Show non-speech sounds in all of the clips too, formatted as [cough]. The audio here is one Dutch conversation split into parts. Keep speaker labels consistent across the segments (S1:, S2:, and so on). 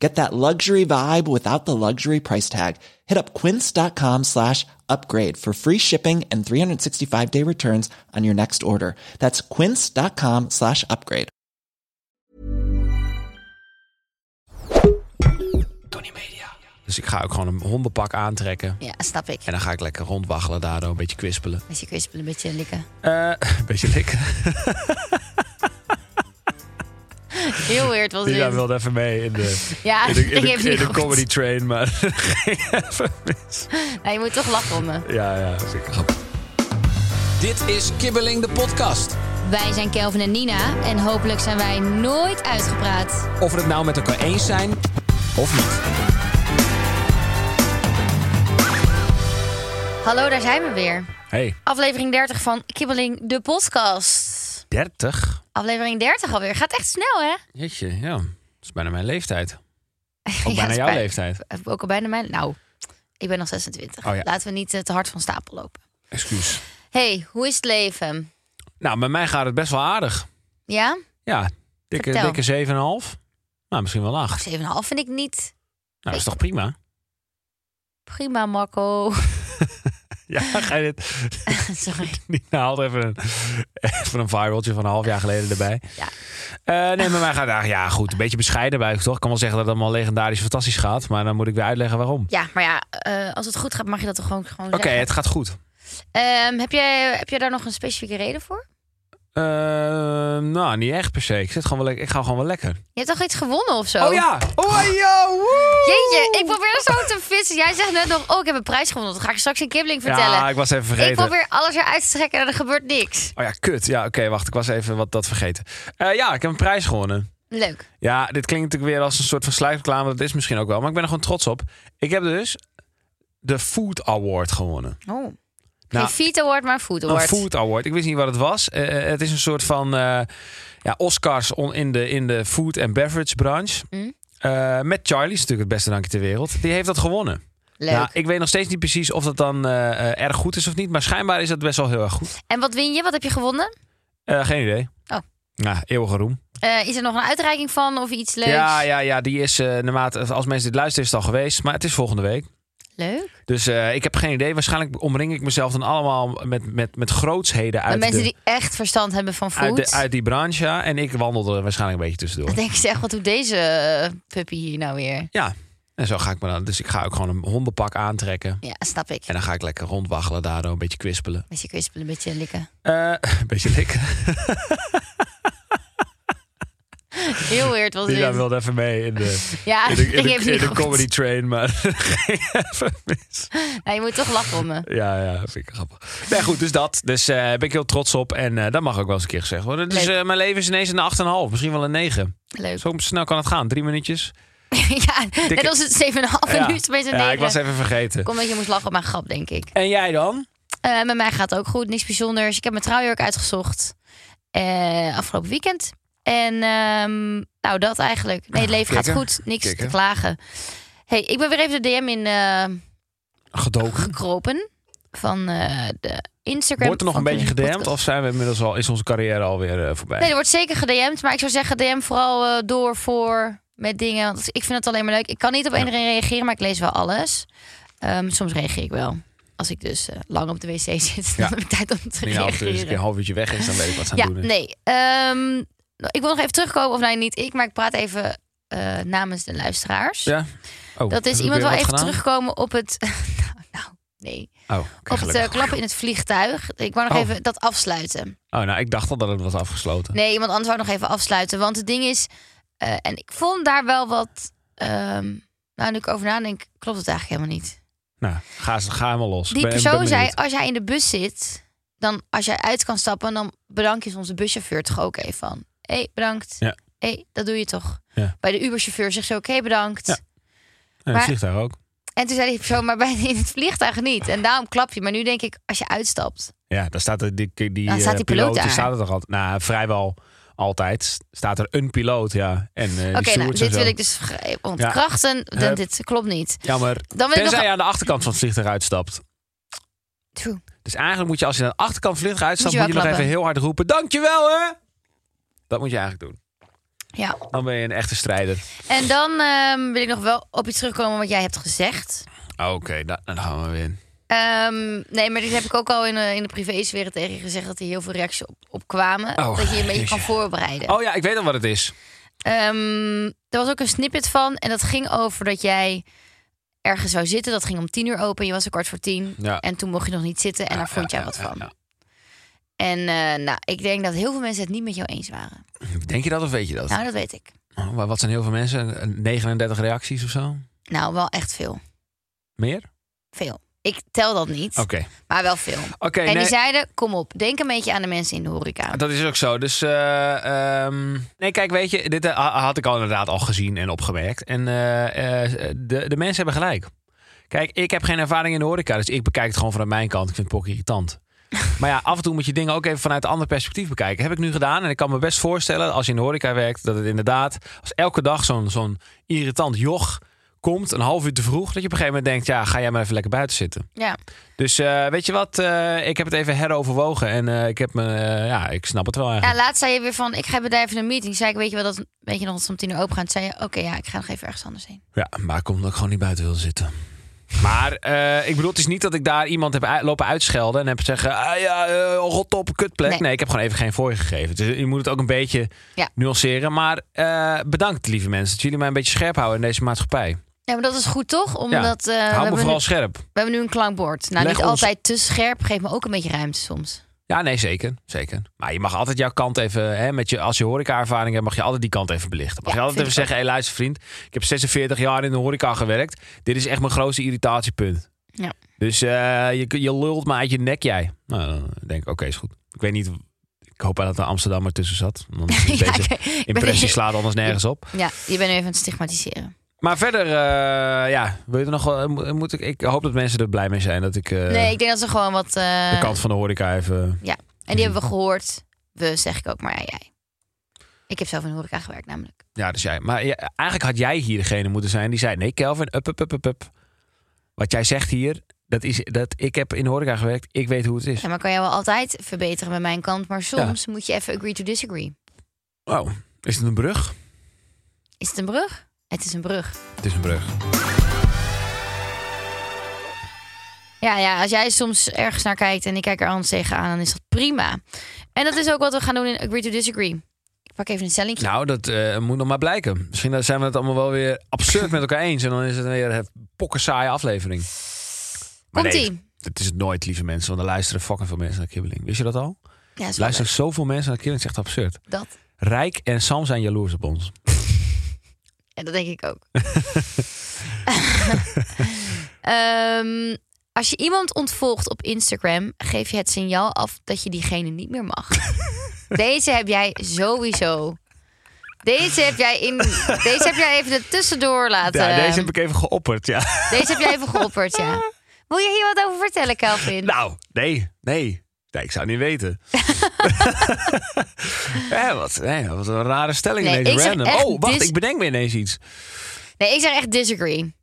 S1: Get that luxury vibe without the luxury price tag. Hit up quince.com slash upgrade for free shipping and 365 day returns on your next order. That's quince.com slash upgrade.
S2: Tony Media. Dus ik ga ook gewoon een hondenpak aantrekken.
S3: Ja, snap ik.
S2: En dan ga ik lekker rondwaggelen daardoor, een beetje kwispelen.
S3: Beetje kwispelen, een beetje likken.
S2: Eh, een beetje
S3: [laughs]
S2: likken.
S3: Heel weird was dit.
S2: Nina wilde even mee in de,
S3: [laughs] Ja,
S2: in de, in
S3: ik
S2: de,
S3: heb het niet
S2: in de
S3: goed.
S2: comedy train, maar [laughs] ging even mis.
S3: Nou, je moet toch lachen om me.
S2: Ja, ja, zeker.
S4: Dit is Kibbeling de podcast.
S3: Wij zijn Kelvin en Nina en hopelijk zijn wij nooit uitgepraat.
S4: Of we het nou met elkaar eens zijn of niet.
S3: Hallo, daar zijn we weer.
S2: Hey,
S3: Aflevering 30 van Kibbeling, de podcast.
S2: 30?
S3: Aflevering 30 alweer. Gaat echt snel, hè?
S2: Jeetje, ja. Dat is bijna mijn leeftijd. Ook
S3: Ja,
S2: bijna
S3: dat is
S2: jouw
S3: bij-
S2: leeftijd.
S3: Ook al bijna mijn... Nou, ik ben nog 26.
S2: Oh ja.
S3: Laten we niet eh, te hard van stapel lopen.
S2: Excuus.
S3: hey, hoe is het leven?
S2: Nou, met mij gaat het best wel aardig.
S3: Ja?
S2: Ja, dikke,
S3: Vertel.
S2: dikke 7,5. Nou, misschien wel 8.
S3: 7,5 Oh, vind ik niet.
S2: Nou, dat is toch prima?
S3: Prima,
S2: [laughs]
S3: Marco.
S2: Ja, ga je dit...
S3: [laughs] Sorry.
S2: Nina haalt even een, even een viraltje van een half jaar geleden erbij.
S3: Ja.
S2: Eh, nee, maar mij gaat eigenlijk, ja goed, een beetje bescheiden bij toch? Ik kan wel zeggen dat het allemaal legendarisch fantastisch gaat, maar dan moet ik weer uitleggen waarom.
S3: Ja, maar ja, eh, als het goed gaat mag je dat toch gewoon, gewoon
S2: Oké,
S3: zeggen?
S2: het gaat goed.
S3: Ehm, heb, jij, heb jij daar nog een specifieke reden voor?
S2: Eh, nou, niet echt per se. Ik, zit gewoon wel, le- ik ga gewoon wel lekker.
S3: Je hebt toch iets gewonnen of zo?
S2: Oh ja! Oh ja! woe!
S3: Jeetje, ik probeer zo te vissen. Jij zegt net nog, oh, ik heb een prijs gewonnen. Dat ga ik straks in Kibbeling vertellen.
S2: Ja, ik was even
S3: ik
S2: vergeten.
S3: probeer alles eruit te trekken en er gebeurt niks.
S2: Oh ja, kut. Ja, oké, wacht. Ik was even wat dat vergeten. Eh, ja, ik heb een prijs gewonnen.
S3: Leuk.
S2: Ja, dit klinkt natuurlijk weer als een soort van sluitreclame. Dat is misschien ook wel, maar ik ben er gewoon trots op. Ik heb dus de Food Award gewonnen.
S3: Oh. Geen
S2: Nou,
S3: Feet Award, maar een Food Award.
S2: Een Food Award. Ik wist niet wat het was. Eh, eh, het is een soort van eh, ja, Oscars on- in, de, in de food en beverage branche.
S3: Mm.
S2: Eh, met Charlie, is natuurlijk het beste drankje ter wereld. Die heeft dat gewonnen.
S3: Leuk.
S2: Nou, ik weet nog steeds niet precies of dat dan eh, eh, erg goed is of niet. Maar schijnbaar is dat best wel heel erg goed.
S3: En wat win je? Wat heb je gewonnen?
S2: Eh, geen idee.
S3: Oh.
S2: Nou, eeuwige roem.
S3: Eh, is er nog een uitreiking van of iets leuks?
S2: Ja, ja, ja, die is eh naarmate, als mensen dit luisteren, is het al geweest. Maar het is volgende week.
S3: Leuk.
S2: Dus eh, ik heb geen idee. Waarschijnlijk omring ik mezelf dan allemaal met, met, met grootsheden
S3: Met
S2: uit,
S3: mensen
S2: de,
S3: die echt verstand hebben van food.
S2: uit, de, uit die branche. ja. En ik wandel er waarschijnlijk een beetje tussendoor.
S3: Dan denken ze echt, wat doet deze eh, puppy hier nou weer?
S2: Ja, en zo ga ik me dan. Dus ik ga ook gewoon een hondenpak aantrekken.
S3: Ja, snap ik.
S2: En dan ga ik lekker rondwaggelen daardoor, een beetje kwispelen.
S3: Beetje kwispelen, een beetje likken.
S2: Eh, [laughs] een beetje likken.
S3: [laughs] Heel weird was dit.
S2: Nina wilde even mee in
S3: [laughs]
S2: de,
S3: Ja,
S2: in de, in
S3: ik
S2: de,
S3: heb
S2: in
S3: niet
S2: de
S3: goed.
S2: comedy train, maar [laughs] ging even mis.
S3: Nou, je moet toch lachen om me.
S2: Ja, ja, vind ik grappig. Nee, goed, dus dat. Dus eh ben ik heel trots op. En eh, dat mag ook wel eens een keer gezegd worden. Dus
S3: Leuk.
S2: eh, mijn leven is ineens een 8,5, misschien wel een 9.
S3: Leuk.
S2: Zo snel kan het gaan, drie minuutjes.
S3: [laughs] ja, net
S2: Dikke-
S3: als het 7,5 en nu is het opeens een
S2: ja,
S3: negen.
S2: ik was even vergeten.
S3: Kom dat je moest lachen op mijn grap, denk ik.
S2: En jij dan?
S3: Eh, met mij gaat het ook goed, niks bijzonders. Ik heb mijn trouwjurk uitgezocht eh, afgelopen weekend. En ehm, nou, dat eigenlijk. Nee, het leven gaat
S2: kikker.
S3: goed, niks
S2: Kikker.
S3: te klagen. hey, ik ben weer even de DM in eh,
S2: Gedoken.
S3: gekropen van eh, de Instagram.
S2: Wordt er nog een
S3: van
S2: beetje
S3: Kibbeling
S2: gedm'd?
S3: Podcast.
S2: Of zijn we inmiddels al, is onze carrière alweer eh, voorbij?
S3: Nee, er wordt zeker gedM'd, maar ik zou zeggen DM vooral eh, door voor met dingen. Want ik vind het alleen maar leuk. Ik kan niet op iedereen reageren, maar ik lees wel alles. Ehm, soms reageer ik wel. Als ik dus eh, lang op de wc [laughs] zit,
S2: Ja. dus
S3: dan heb ik tijd om te
S2: Nina, als het eens een keer een
S3: reageren.
S2: half uurtje weg is, dan weet ik wat ze aan
S3: Ja,
S2: het doen is.
S3: nee. Ehm, nou, ik wil nog even terugkomen, of nee, niet ik, maar ik praat even eh, namens de luisteraars.
S2: Ja? Oh,
S3: Dat
S2: heb
S3: is
S2: ik
S3: iemand
S2: weer
S3: wel
S2: wat
S3: even
S2: gedaan?
S3: terugkomen op het... [laughs] nou, nou, nee.
S2: Oh, oké,
S3: op het eh,
S2: gelukkig.
S3: klappen in het vliegtuig. Ik wou nog
S2: Oh.
S3: even dat afsluiten.
S2: Oh, nou, ik dacht al dat het was afgesloten.
S3: Nee, iemand anders wou nog even afsluiten. Want het ding is, eh, en ik vond daar wel wat. ehm, nou, nu ik over nadenk, klopt het eigenlijk helemaal niet.
S2: Nou, ga, eens- ga helemaal los.
S3: Die
S2: Ben- ben
S3: persoon zei:
S2: benieuwd.
S3: als jij in de bus zit, dan als jij uit kan stappen, dan bedank je onze buschauffeur toch ook even van. Hé, hey, bedankt.
S2: Ja.
S3: Hé, hey, dat doe je toch?
S2: Ja.
S3: Bij de Uberchauffeur zegt ze ook: hé, bedankt.
S2: Ja. Nee,
S3: maar-
S2: Het vliegtuig ook.
S3: En toen zei die persoon, maar bij, in het vliegtuig niet. En daarom klap je. Maar nu denk ik, als je uitstapt.
S2: Ja, daar staat er die, die,
S3: Dan staat
S2: eh,
S3: die piloot
S2: piloot,
S3: daar.
S2: die staat er toch altijd. Nou, vrijwel altijd staat er een piloot, ja. En eh, die
S3: Oké, nou,
S2: stewards en
S3: dit
S2: zo.
S3: wil ik dus ge- ontkrachten. want
S2: Hup.
S3: Dit klopt niet.
S2: Jammer.
S3: Dan wil ik
S2: Tenzij
S3: nog...
S2: je aan de achterkant van het vliegtuig uitstapt.
S3: True.
S2: Dus eigenlijk moet je als je aan de achterkant van het vliegtuig uitstapt...
S3: Moet
S2: moet
S3: je
S2: je,
S3: wel
S2: nog even
S3: klappen.
S2: heel hard roepen... Dankjewel, hè! Dat moet je eigenlijk doen.
S3: Ja.
S2: Dan ben je een echte strijder.
S3: En dan ehm, wil ik nog wel op iets terugkomen wat jij hebt gezegd.
S2: Oké, da- dan gaan we weer in.
S3: Ehm, nee, maar dit heb ik ook al in, eh, in de privésfeer tegen je gezegd... dat er heel veel reacties op, op kwamen.
S2: Oh,
S3: dat je je een beetje
S2: jeetje.
S3: kan voorbereiden.
S2: Oh ja, ik weet al wat het is.
S3: Ehm, er was ook een snippet van. En dat ging over dat jij ergens zou zitten. Dat ging om tien uur open. Je was er kwart voor tien.
S2: Ja.
S3: En toen mocht je nog niet zitten. En daar vond jij wat van.
S2: Ja,
S3: En eh, nou, ik denk dat heel veel mensen het niet met jou eens waren.
S2: ja. Denk je dat of weet je dat?
S3: Nou, dat weet ik.
S2: Oh, maar wat zijn heel veel mensen? Een- 39 reacties of zo?
S3: Nou, wel echt veel.
S2: Meer?
S3: Veel. Ik tel dat niet,
S2: Oké.
S3: maar wel veel.
S2: Oké,
S3: en
S2: nee.
S3: die zeiden, kom op, denk een beetje aan de mensen in de horeca.
S2: Dat is ook zo. Dus, eh, ehm, nee, kijk, weet je, dit eh, ha- had ik al inderdaad al gezien en opgemerkt. En eh, eh, de, de mensen hebben gelijk. Kijk, ik heb geen ervaring in de horeca, dus ik bekijk het gewoon vanuit mijn kant. Ik vind het pokken irritant. Maar ja, af en toe moet je dingen ook even vanuit een ander perspectief bekijken. Heb ik nu gedaan. En ik kan me best voorstellen, als je in de horeca werkt, dat het inderdaad, als elke dag zo'n zo'n irritant joch komt, een half uur te vroeg, dat je op een gegeven moment denkt, ja, ga jij maar even lekker buiten zitten.
S3: Ja,
S2: Dus eh, weet je wat, Eh, ik heb het even heroverwogen en eh, ik heb me, eh, ja, ik snap het wel
S3: ja
S2: eigenlijk.
S3: laatst zei je weer van, ik ga bij daar even een meeting. Zei ik, weet je wel, dat weet je nog dat ze om tien uur open gaan? Toen zei je, oké, ja, ik ga nog even ergens anders heen.
S2: Ja, maar ik kom omdat ik gewoon niet buiten wil zitten. Maar eh, ik bedoel, het is niet dat ik daar iemand heb uit- lopen uitschelden en heb zeggen, ah ja, eh, rot op, kutplek.
S3: Nee.
S2: Nee. ik heb gewoon even geen voor je gegeven. Dus je moet het ook een beetje
S3: Ja.
S2: nuanceren. Maar eh, bedankt, lieve mensen, dat jullie mij een beetje scherp houden in deze maatschappij.
S3: Ja, maar dat is goed toch? Omdat, eh, we,
S2: Hou me
S3: hebben
S2: vooral
S3: nu,
S2: scherp.
S3: we hebben nu een klankbord. Nou,
S2: Leg
S3: niet
S2: ons-
S3: altijd te scherp. Geef me ook een beetje ruimte soms.
S2: Ja, nee, zeker. zeker. Maar je mag altijd jouw kant even, hè, met je, als je horeca-ervaring hebt, mag je altijd die kant even belichten. Mag
S3: Ja,
S2: je altijd
S3: vind
S2: even
S3: ik
S2: zeggen, hé luister vriend, ik heb 46 jaar in de horeca gewerkt. Dit is echt mijn grootste irritatiepunt.
S3: Ja.
S2: Dus eh, je, je lult me uit je nek jij. Nou, dan denk ik, oké, is goed. Ik weet niet, ik hoop dat er Amsterdam ertussen zat.
S3: [laughs]
S2: Want deze
S3: ja, ik- ik ben-
S2: impressie slaat anders nergens op.
S3: Ja, je bent nu even aan het stigmatiseren.
S2: Maar verder, eh, ja, wil je er nog wel, mo- moet ik, ik hoop dat mensen er blij mee zijn dat ik eh,
S3: nee, ik denk dat ze gewoon wat... eh,
S2: de kant van de horeca even...
S3: Ja, en die hebben we gehoord. We, zeg ik ook, maar ja, jij. Ik heb zelf in de horeca gewerkt namelijk.
S2: Ja, dus jij. Maar ja, eigenlijk had jij hier degene moeten zijn die zei: Nee, Kelvin, up, up, up, up, up. Wat jij zegt hier, dat is dat ik heb in de horeca gewerkt, ik weet hoe het is.
S3: Ja, maar kan jij wel altijd verbeteren bij mijn kant. Maar soms moet je even agree to disagree.
S2: Wow, is het een brug?
S3: Is het een brug? Het is een brug.
S2: Het is een brug.
S3: Ja, ja, als jij soms ergens naar kijkt en ik kijk er anders tegenaan, dan is dat prima. En dat is ook wat we gaan doen in agree to disagree. Ik pak even een stellingje.
S2: Nou, dat eh, moet nog maar blijken. Misschien zijn we het allemaal wel weer absurd met elkaar eens en dan is het weer een pokkensaaie aflevering. Maar nee,
S3: Komt-ie.
S2: Het is het nooit, lieve mensen, want er luisteren fucking veel mensen naar kibbeling. Wist je dat al?
S3: ja, is wel
S2: Luisteren zoveel mensen naar kibbeling, het is echt absurd.
S3: leuk. Dat.
S2: Rijk en Sam zijn jaloers op ons.
S3: Ja, dat denk ik
S2: [laughs]
S3: ook. [laughs] Ehm, als je iemand ontvolgt op Instagram, geef je het signaal af dat je diegene niet meer mag.
S2: [laughs]
S3: Deze heb jij sowieso. Deze heb jij,
S2: [laughs]
S3: in, deze heb jij even er tussendoor laten. ehm,
S2: Ja, deze heb ik even geopperd, ja.
S3: deze heb jij even geopperd, ja. Wil je hier wat over vertellen, Kelvin?
S2: Nou, nee, nee. Nee, ik zou het niet weten.
S3: [laughs]
S2: ja, wat, nee, wat een rare stelling
S3: Nee, ik
S2: ineens,
S3: zeg
S2: random.
S3: echt
S2: Oh, wacht,
S3: dis-
S2: ik bedenk me ineens iets.
S3: Nee, ik zeg echt disagree.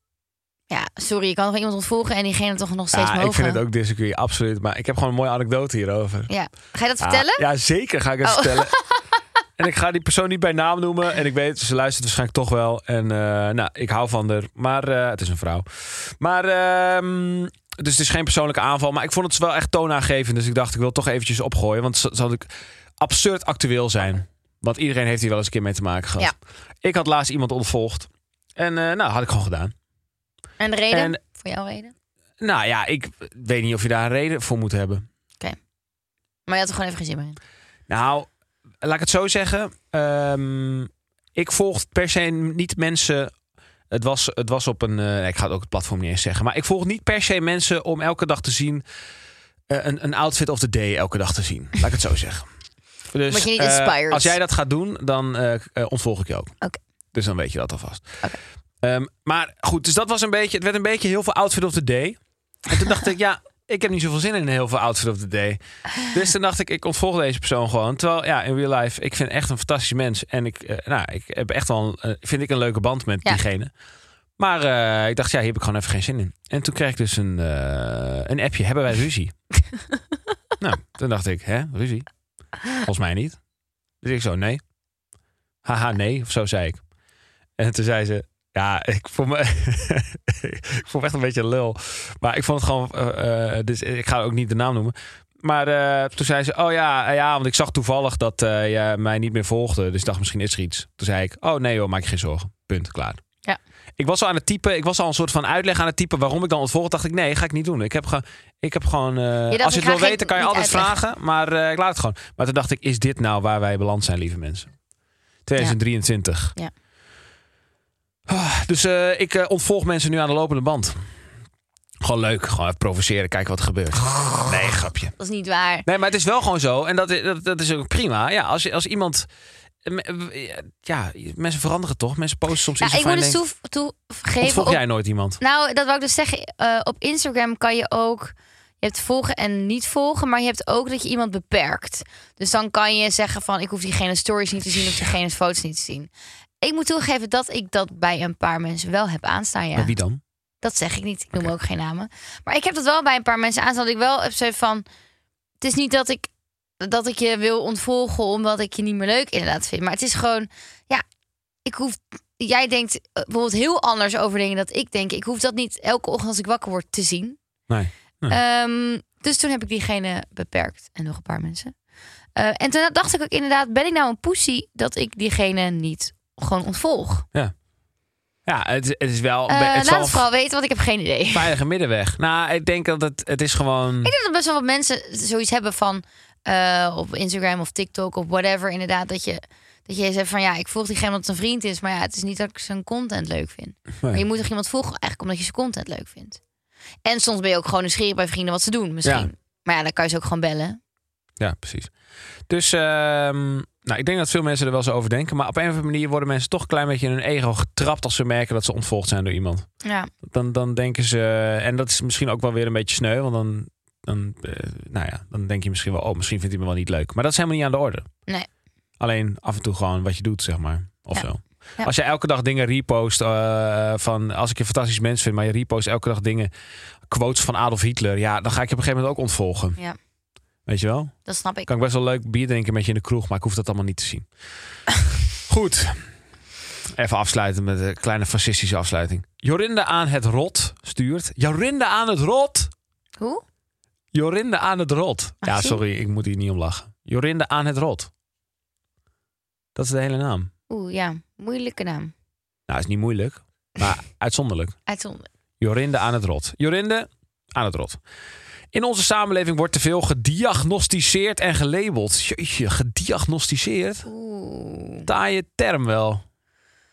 S3: Ja, sorry, je kan nog iemand ontvolgen en diegene toch nog steeds
S2: Ja,
S3: mogen.
S2: Ah, ik vind het ook disagree, absoluut. Maar ik heb gewoon een mooie anekdote hierover.
S3: Ja. Ga je dat
S2: Ah,
S3: vertellen?
S2: ja, zeker ga ik het
S3: Oh.
S2: vertellen.
S3: [laughs]
S2: En ik ga die persoon niet bij naam noemen. En ik weet, ze luistert waarschijnlijk toch wel. En eh, nou, ik hou van haar. Maar eh, het is een vrouw. Maar, ehm, dus het is geen persoonlijke aanval. Maar ik vond het wel echt toonaangevend. Dus ik dacht, ik wil het toch eventjes opgooien. Want het zal ik absurd actueel zijn. Want iedereen heeft hier wel eens een keer mee te maken gehad. Ik had laatst iemand ontvolgd. En eh, nou, had ik gewoon gedaan.
S3: En de reden?
S2: En-
S3: Voor jouw reden?
S2: Nou ja, ik weet niet of je daar een reden voor moet hebben.
S3: Maar je had er gewoon even geen zin meer in.
S2: Nou, laat ik het zo zeggen. Ehm, ik volg per se niet mensen. Het was, het was op een. eh, nee, ik ga het ook het platform niet eens zeggen. Maar ik volg niet per se mensen om elke dag te zien. eh, een, een outfit of the day elke dag te zien. Laat ik het zo zeggen. Dus,
S3: Word je niet
S2: eh,
S3: inspired?
S2: als jij dat gaat doen, dan eh, eh, ontvolg ik je ook.
S3: Oké.
S2: Dus dan weet je dat alvast.
S3: Oké.
S2: Ehm, maar goed, dus dat was een beetje. Het werd een beetje heel veel outfit of the day. En toen dacht ik, ja, ik heb niet zoveel zin in heel veel outfit of the day. Dus toen dacht ik, ik ontvolg deze persoon gewoon. Terwijl, ja, in real life, ik vind echt een fantastisch mens. En ik, eh, nou, ik heb echt wel, een, eh, vind ik een leuke band met
S3: Ja.
S2: diegene. Maar eh, ik dacht, ja, hier heb ik gewoon even geen zin in. En toen kreeg ik dus een, eh, een appje. Hebben wij ruzie? nou, toen dacht ik, hè, ruzie? Volgens mij niet. Dus ik zo, nee. Haha, nee. Of zo zei ik. En toen zei ze, ja, ik voel me, [laughs] ik voel me echt een beetje een lul. Maar ik vond het gewoon, eh, eh, dus ik ga ook niet de naam noemen. Maar eh, toen zei ze, oh ja, eh, ja, want ik zag toevallig dat eh, je mij niet meer volgde. Dus ik dacht, misschien is er iets. Toen zei ik, oh nee joh, maak je geen zorgen. Punt, klaar.
S3: Ja.
S2: Ik was al aan het typen, ik was al een soort van uitleg aan het typen waarom ik dan ontvolgde. Dacht ik, nee, ga ik niet doen. Ik heb, ge, ik heb gewoon, eh,
S3: dacht,
S2: als je
S3: ik
S2: het
S3: ga
S2: wil
S3: geen-
S2: weten kan je
S3: niet
S2: altijd
S3: uitleggen.
S2: vragen. Maar eh, ik laat het gewoon. Maar toen dacht ik, is dit nou waar wij beland zijn, lieve mensen? 2023.
S3: Ja.
S2: Ah, Dus eh, ik eh, ontvolg mensen nu aan de lopende band. Gewoon leuk, gewoon even provoceren, kijken wat er gebeurt. [laughs] Nee, grapje.
S3: Dat is niet waar.
S2: Nee, maar het is wel gewoon zo. En dat, i- dat, dat is ook prima. Ja, als, je- als iemand... Ja, mensen veranderen toch? Mensen posten soms
S3: Nou,
S2: iets
S3: ik moet
S2: waarvan
S3: dus
S2: je denkt,
S3: toe- toegeven.
S2: Ontvolg
S3: op-
S2: jij nooit iemand?
S3: Nou, dat wou ik dus zeggen. eh, op Instagram kan je ook. Je hebt volgen en niet volgen, maar je hebt ook dat je iemand beperkt. Dus dan kan je zeggen van ik hoef diegene stories niet te zien of diegene's foto's niet te zien. Ik moet toegeven dat ik dat bij een paar mensen wel heb aanstaan. Ja.
S2: Maar wie dan?
S3: Dat zeg ik niet. Ik noem ook geen namen. Maar ik heb dat wel bij een paar mensen aan. Dat ik wel heb zoiets van. Het is niet dat ik, dat ik je wil ontvolgen omdat ik je niet meer leuk inderdaad vind. Maar het is gewoon. Ja, ik hoef. Jij denkt eh, bijvoorbeeld heel anders over dingen dat ik denk. Ik hoef dat niet elke ochtend als ik wakker word te zien.
S2: Nee.
S3: Ehm, dus toen heb ik diegene beperkt. En nog een paar mensen. Eh, en toen dacht ik ook inderdaad, ben ik nou een pussy dat ik diegene niet gewoon ontvolg?
S2: Ja, het, is- het is wel...
S3: Eh,
S2: Oh, het is
S3: laat
S2: wel
S3: het vooral weten, want ik heb geen idee.
S2: een veilige middenweg. Nou, ik denk dat het, het is gewoon...
S3: Ik denk dat best wel wat mensen zoiets hebben van eh, op Instagram of TikTok of whatever. Inderdaad, dat je, dat je zegt van ja, ik volg diegene omdat het een vriend is. Maar ja, het is niet dat ik zijn content leuk vind. Maar je moet toch iemand volgen eigenlijk omdat je zijn content leuk vindt. En soms ben je ook gewoon nieuwsgierig bij vrienden wat ze doen misschien.
S2: Ja.
S3: Maar ja, dan kan je ze ook gewoon bellen.
S2: Ja, precies. Dus ehm, nou, ik denk dat veel mensen er wel zo over denken. Maar op een of andere manier worden mensen toch een klein beetje in hun ego getrapt als ze merken dat ze ontvolgd zijn door iemand.
S3: Ja,
S2: Dan, dan denken ze, en dat is misschien ook wel weer een beetje sneu, want dan, dan, eh, nou ja, dan denk je misschien wel, oh, misschien vindt hij me wel niet leuk. Maar dat is helemaal niet aan de orde.
S3: Nee.
S2: Alleen af en toe gewoon wat je doet, zeg maar. Of
S3: Ja.
S2: zo.
S3: Ja.
S2: Als je elke dag dingen repost eh, van als ik je fantastisch mens vind, maar je repost elke dag dingen, quotes van Adolf Hitler, ja, dan ga ik je op een gegeven moment ook ontvolgen.
S3: Ja.
S2: Weet je wel?
S3: dat snap ik.
S2: Kan ik best wel leuk bier drinken met je in de kroeg, maar ik hoef dat allemaal niet te zien. [laughs] Goed. Even afsluiten met een kleine fascistische afsluiting. Jorinde aan het rot stuurt. Jorinde aan het rot!
S3: Hoe?
S2: Jorinde aan het rot.
S3: Mag
S2: Ja,
S3: ik zien?
S2: sorry, ik moet hier niet om lachen. Jorinde aan het rot. Dat is de hele naam.
S3: Oeh, ja. Moeilijke naam.
S2: Nou, is niet moeilijk, maar uitzonderlijk.
S3: Uitzonderlijk.
S2: Jorinde aan het rot. Jorinde aan het rot. In onze samenleving wordt te veel gediagnosticeerd en gelabeld. Jeetje, gediagnosticeerd?
S3: Oeh.
S2: taaie term wel.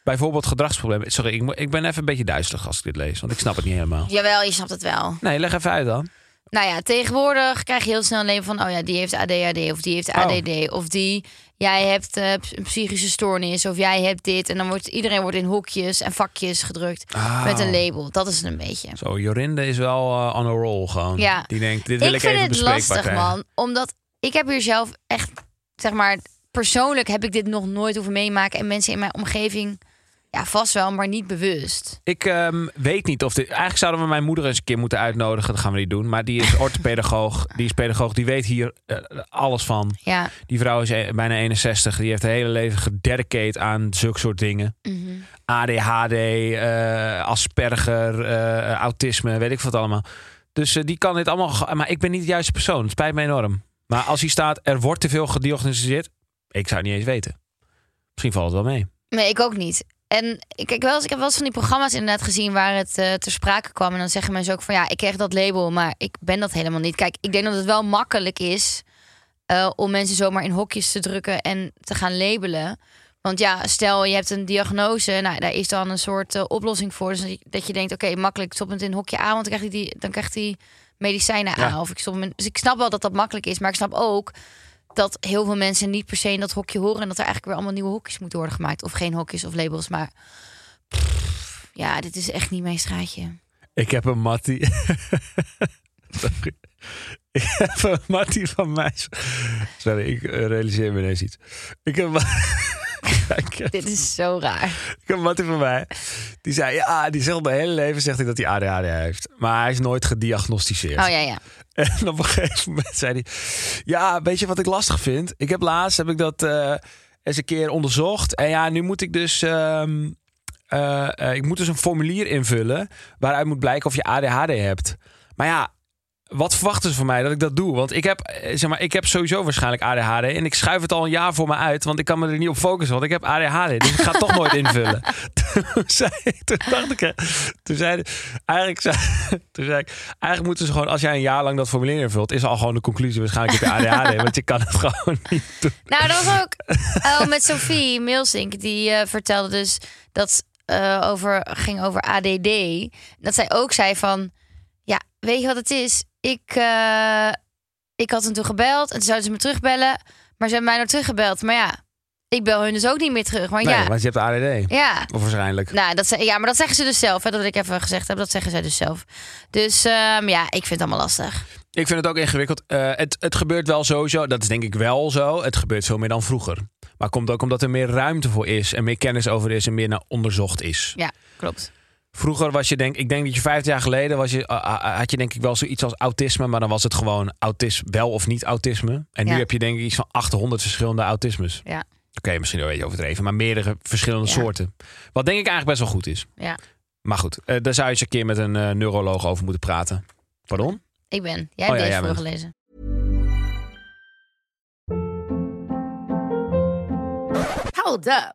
S2: Bijvoorbeeld gedragsproblemen. Sorry, ik, mo- ik ben even een beetje duizelig als ik dit lees, want ik snap het niet helemaal.
S3: Jawel, je snapt het wel.
S2: Nee, leg even uit dan.
S3: Nou ja, tegenwoordig krijg je heel snel een leven van... oh ja, die heeft ADHD of die heeft
S2: Oh.
S3: ADD of die... jij hebt eh, p- een psychische stoornis of jij hebt dit. En dan wordt iedereen wordt in hokjes en vakjes gedrukt
S2: Ah.
S3: met een label. Dat is het een beetje.
S2: Zo, Jorinde is wel eh, on a roll gewoon.
S3: Ja.
S2: Die denkt, dit wil ik,
S3: ik vind
S2: even
S3: het
S2: bespreekbaar
S3: lastig,
S2: krijgen.
S3: man. Omdat ik heb hier zelf echt, zeg maar... persoonlijk heb ik dit nog nooit hoeven meemaken. En mensen in mijn omgeving, ja, vast wel, maar niet bewust.
S2: Ik ehm, weet niet of dit... Eigenlijk zouden we mijn moeder eens een keer moeten uitnodigen. Dat gaan we niet doen. Maar die
S3: [laughs]
S2: is orthopedagoog. die is pedagoog. Die weet hier eh, alles van.
S3: Ja,
S2: Die vrouw is e- bijna 61. Die heeft het hele leven gededicate aan zulke soort dingen.
S3: mhm.
S2: ADHD, eh, asperger, eh, autisme, weet ik wat allemaal. Dus eh, die kan dit allemaal. ge- Maar ik ben niet de juiste persoon. Het spijt me enorm. Maar als hier staat, er wordt te veel gediagnosticeerd. Ik zou het niet eens weten. Misschien valt het wel mee.
S3: Nee, ik ook niet. En ik, kijk wel eens, ik heb wel eens van die programma's inderdaad gezien waar het eh, ter sprake kwam. En dan zeggen mensen ook van ja, ik kreeg dat label, maar ik ben dat helemaal niet. Kijk, ik denk dat het wel makkelijk is eh, om mensen zomaar in hokjes te drukken en te gaan labelen. Want ja, stel je hebt een diagnose, nou, daar is dan een soort eh, oplossing voor. Dus dat je- dat je denkt, oké, makkelijk, ik stop het in hokje A, want dan krijgt hij, die, dan krijgt hij medicijnen
S2: Ja.
S3: aan. Of ik stop hem in- dus ik snap wel dat dat makkelijk is, maar ik snap ook dat heel veel mensen niet per se in dat hokje horen. En dat er eigenlijk weer allemaal nieuwe hokjes moeten worden gemaakt. Of geen hokjes of labels, maar... Pff, Ja, dit is echt niet mijn straatje.
S2: Ik heb een Mattie. [laughs] Sorry. Ik heb een Mattie van mij. Sorry, ik eh, realiseer me ineens iets. Ik [laughs] heb, Ja, ik heb-
S3: Dit is zo raar.
S2: [laughs] ik heb een Mattie van mij. Die zei, ja, die zegt mijn hele leven zegt hij dat hij ADHD heeft. Maar hij is nooit gediagnosticeerd.
S3: Oh ja, ja.
S2: [laughs] En op een gegeven moment zei hij... Ja, weet je wat ik lastig vind? Ik heb laatst heb ik dat eh, eens een keer onderzocht. En ja, nu moet ik dus... ehm, eh, eh, ik moet dus een formulier invullen... waaruit moet blijken of je ADHD hebt. Maar ja, wat verwachten ze van mij dat ik dat doe? Want ik heb, eh, zeg maar, ik heb sowieso waarschijnlijk ADHD... en ik schuif het al een jaar voor me uit... want ik kan me er niet op focussen, want ik heb ADHD. Dus ik ga het toch nooit invullen. [laughs] Toen, zei, toen dacht ik... eh, Toen zei, eigenlijk zei, toen zei ik, eigenlijk moeten ze gewoon, als jij een jaar lang dat formulier invult, is al gewoon de conclusie waarschijnlijk dat je ADHD, hebt, want je kan het gewoon niet doen.
S3: Nou, dat was ook oh, met Sophie Milsink. Die eh, vertelde dus dat eh, over, ging over ADD. Dat zij ook zei van... Ja, weet je wat het is? Ik, eh, ik had hen toen gebeld en toen zouden ze me terugbellen. Maar ze hebben mij nog teruggebeld. Maar ja, ik bel hun dus ook niet meer terug. Maar
S2: Nee,
S3: ja,
S2: want je hebt ADD.
S3: ja.
S2: Of waarschijnlijk.
S3: Nou, dat, ze- ja, maar dat zeggen ze dus zelf. Hè, dat wat ik even gezegd heb, dat zeggen zij dus zelf. Dus ehm, ja, ik vind het allemaal lastig.
S2: Ik vind het ook ingewikkeld. Eh, het, het gebeurt wel sowieso, dat is denk ik wel zo. Het gebeurt veel meer dan vroeger. Maar komt ook omdat er meer ruimte voor is en meer kennis over is en meer naar onderzocht is.
S3: Ja, klopt.
S2: Vroeger was je denk ik denk dat je vijftig jaar geleden was je, ah, ah, had je denk ik wel zoiets als autisme, maar dan was het gewoon autisme, wel of niet autisme. En
S3: Ja.
S2: nu heb je denk ik iets van 800 verschillende autismes.
S3: Ja.
S2: Oké, misschien een beetje overdreven, maar meerdere verschillende
S3: Ja.
S2: soorten. Wat denk ik eigenlijk best wel goed is.
S3: Ja.
S2: Maar goed, eh, daar zou je eens een keer met een eh, neuroloog over moeten praten. Pardon?
S3: Ik ben. Jij
S2: Oh ja,
S3: hebt deze
S2: jij bent.
S3: voorgelezen.
S5: Hold up.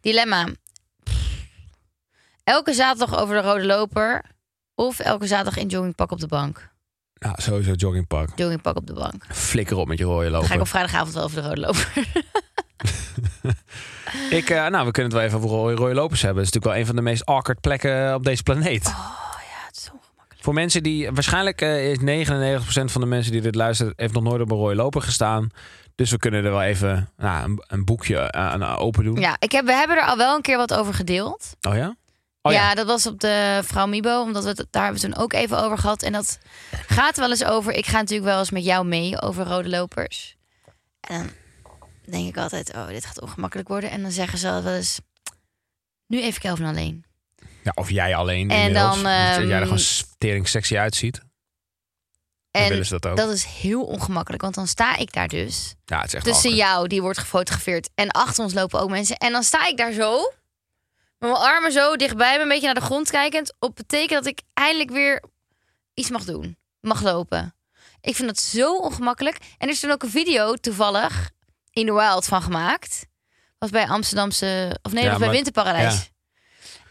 S3: Dilemma. Elke zaterdag over de rode loper of elke zaterdag in joggingpak op de bank.
S2: Nou, sowieso joggingpak.
S3: Joggingpak op de bank.
S2: Flikker op met je rode
S3: Dan ga ik
S2: loper.
S3: op vrijdagavond wel over de rode loper.
S2: Ik, eh, nou, we kunnen het wel even over rode, rode lopers hebben. Het is natuurlijk wel een van de meest awkward plekken op deze
S3: [laughs]
S2: planeet.
S3: Ja, het is ongemakkelijk.
S2: Voor mensen die, waarschijnlijk eh, is 99% van de mensen die dit luisteren, heeft nog nooit op een rode loper gestaan. Dus we kunnen er wel even nou, een, een boekje eh, aan aan open doen.
S3: Ja, ik heb, we hebben er al wel een keer wat over gedeeld.
S2: Oh ja? Oh
S3: ja. dat was op de Vrouw Mibo, omdat we het daar hebben we toen ook even over gehad. En dat gaat wel eens over. Ik ga natuurlijk wel eens met jou mee over rode lopers. En dan denk ik altijd, oh, dit gaat ongemakkelijk worden. En dan zeggen ze wel eens, nu even Kelvin alleen.
S2: Ja, of jij alleen.
S3: En
S2: inmiddels.
S3: dan,
S2: Dat jij er
S3: ehm,
S2: gewoon tering sexy uitziet. dan
S3: En
S2: willen ze dat ook.
S3: dat is heel ongemakkelijk, want dan sta ik daar dus.
S2: ja, het is echt
S3: Tussen
S2: awkward.
S3: jou, die wordt gefotografeerd, en achter ons lopen ook mensen. En dan sta ik daar zo, met mijn armen zo dichtbij me, een beetje naar de grond kijkend. Op betekent dat ik eindelijk weer iets mag doen, mag lopen. Ik vind dat zo ongemakkelijk. En er is toen ook een video toevallig in de wild van gemaakt. Was bij Amsterdamse, of nee,
S2: Ja,
S3: dat was bij
S2: maar-
S3: Winterparadijs.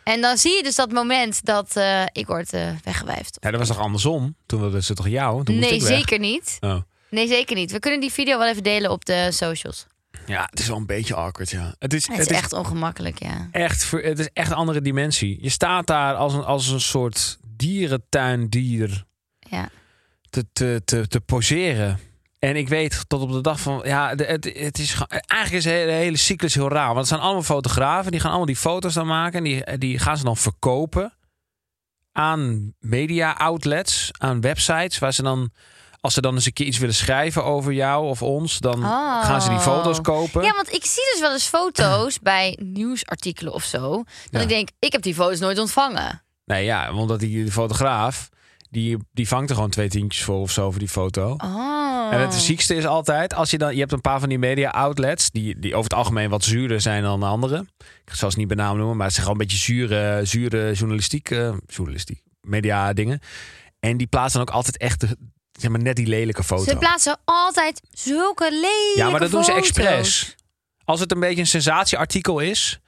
S3: En dan zie je dus dat moment dat eh, ik word eh weggewijfd.
S2: Ja, dat was toch andersom? Toen wilden ze toch jou? Toen moest
S3: nee,
S2: ik weg.
S3: zeker niet.
S2: Oh.
S3: Nee, zeker niet. We kunnen die video wel even delen op de socials.
S2: Ja, het is wel een beetje awkward, ja. Het is,
S3: Het, is echt ongemakkelijk, ja.
S2: echt, ver- het is echt een andere dimensie. Je staat daar als een, als een soort dierentuindier
S3: Ja,
S2: te, te, te, te poseren. En ik weet tot op de dag van... Ja, de- het, het is, gewoon- eigenlijk is de hele, de hele cyclus heel raar. Want het zijn allemaal fotografen. Die gaan allemaal die foto's dan maken. En die, die gaan ze dan verkopen aan media outlets. Aan websites. Waar ze dan... Als ze dan eens een keer iets willen schrijven over jou of ons... dan
S3: Oh.
S2: gaan ze die foto's kopen.
S3: ja want ik zie dus wel eens foto's [clears throat] bij nieuwsartikelen of zo. Dat
S2: Ja.
S3: ik denk, ik heb die foto's nooit ontvangen.
S2: Nee, ja, omdat die die fotograaf, die, die vangt er gewoon twee tientjes voor of zo voor die foto.
S3: Oh.
S2: En het ziekste is altijd, als je dan, je hebt een paar van die media outlets, die, die over het algemeen wat zuurder zijn dan de andere. Ik zal ze niet bij naam noemen, maar het zijn gewoon een beetje zure, zure journalistiek, eh, journalistiek, media dingen. En die plaatsen dan ook altijd echt, de, zeg maar, net die lelijke foto.
S3: Ze plaatsen altijd zulke lelijke
S2: Ja, maar dat doen ze
S3: foto's.
S2: expres. Als het een beetje een sensatieartikel is,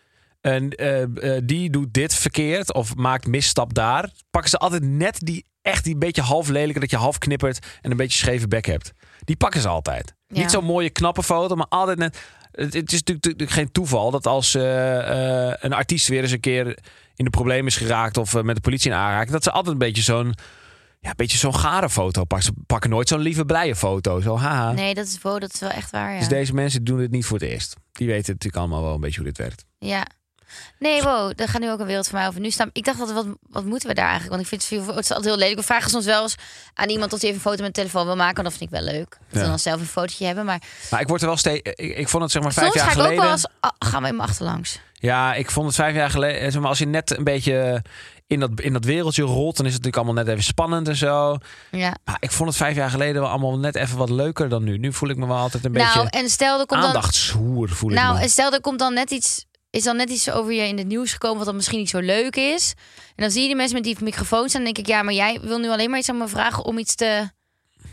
S2: eh, en, eh, eh, die doet dit verkeerd of maakt misstap daar, pakken ze altijd net die echt die beetje half lelijke dat je half knippert en een beetje scheve bek hebt. Die pakken ze altijd.
S3: Ja.
S2: Niet zo'n mooie knappe foto, maar altijd net. Het, het is natuurlijk natuurlijk geen toeval dat als eh, eh, een artiest weer eens een keer in de problemen is geraakt of eh, met de politie in aanraking, dat ze altijd een beetje zo'n ja, een beetje zo'n gare foto pakken. Ze pakken nooit zo'n lieve blije foto. Zo haha.
S3: Nee, dat is, wow, dat is wel echt waar, ja.
S2: Dus deze mensen doen dit niet voor het eerst. Die weten natuurlijk allemaal wel een beetje hoe dit werkt.
S3: Ja. Nee, wow, daar gaat nu ook een wereld voor mij over. Nu staan. Ik dacht, wat, wat, wat moeten we daar eigenlijk? Want ik vind het, veel- het is altijd heel lelijk. We vragen soms wel eens aan iemand of die even een foto met de telefoon wil maken. Want dat vind ik wel leuk. Dat we
S2: Ja.
S3: dan zelf een fotootje hebben. Maar
S2: Maar ik word er wel steeds. Ik, ik vond het zeg maar vijf
S3: soms
S2: jaar
S3: ga ik ook
S2: geleden.
S3: wel eens... ah, gaan we in mijn achterlangs.
S2: Ja, ik vond het vijf jaar geleden. eh, Zeg maar, als je net een beetje in dat, in dat wereldje rolt, dan is het natuurlijk allemaal net even spannend en zo.
S3: Ja.
S2: Maar ik vond het vijf jaar geleden wel allemaal net even wat leuker dan nu. Nu voel ik me wel altijd een
S3: Nou,
S2: beetje
S3: en stel, er komt dan...
S2: aandachtshoer. Voel ik
S3: Nou,
S2: me.
S3: en stel, er komt dan net iets. Is dan net iets over je in het nieuws gekomen wat dan misschien niet zo leuk is. En dan zie je die mensen met die microfoons. En dan denk ik, ja, maar jij wil nu alleen maar iets aan me vragen om iets te.